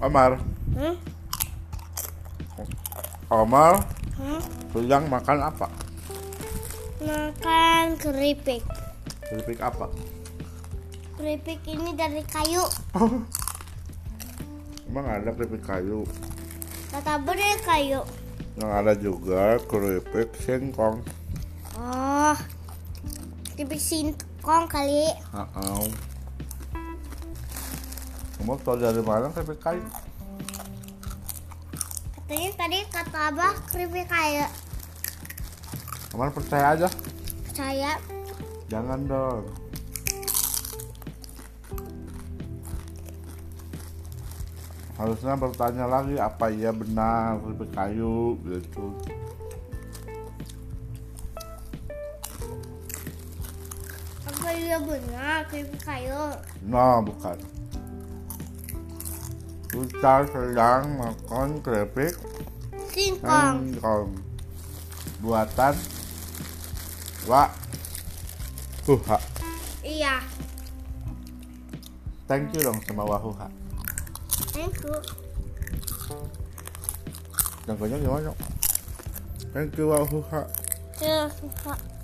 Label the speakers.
Speaker 1: Omar,
Speaker 2: Hah?
Speaker 1: Omar
Speaker 2: Hah?
Speaker 1: sedang makan apa?
Speaker 2: Makan keripik.
Speaker 1: Keripik apa?
Speaker 2: Keripik ini dari kayu.
Speaker 1: Emang ada keripik kayu,
Speaker 2: Kata dari kayu.
Speaker 1: yang ada juga keripik singkong.
Speaker 2: Oh. Keripik singkong kali.
Speaker 1: Uh-oh. Kamu tahu dari mana keripik kayu?
Speaker 2: Katanya tadi kata Abah keripik kayu.
Speaker 1: Omar percaya aja.
Speaker 2: Saya
Speaker 1: Jangan dong. Harusnya bertanya lagi apa iya benar keripik kayu gitu.
Speaker 2: apa iya benar keripik kayu?
Speaker 1: No, bukan. Kita sedang makan keripik
Speaker 2: Singkong.
Speaker 1: singkong buatan Wak Huha.
Speaker 2: Iya.
Speaker 1: Thank you dong sama Wahuha.
Speaker 2: Thank you.
Speaker 1: Contohnya gimana? Thank you Wahuha.
Speaker 2: Iya, Terus, Kak.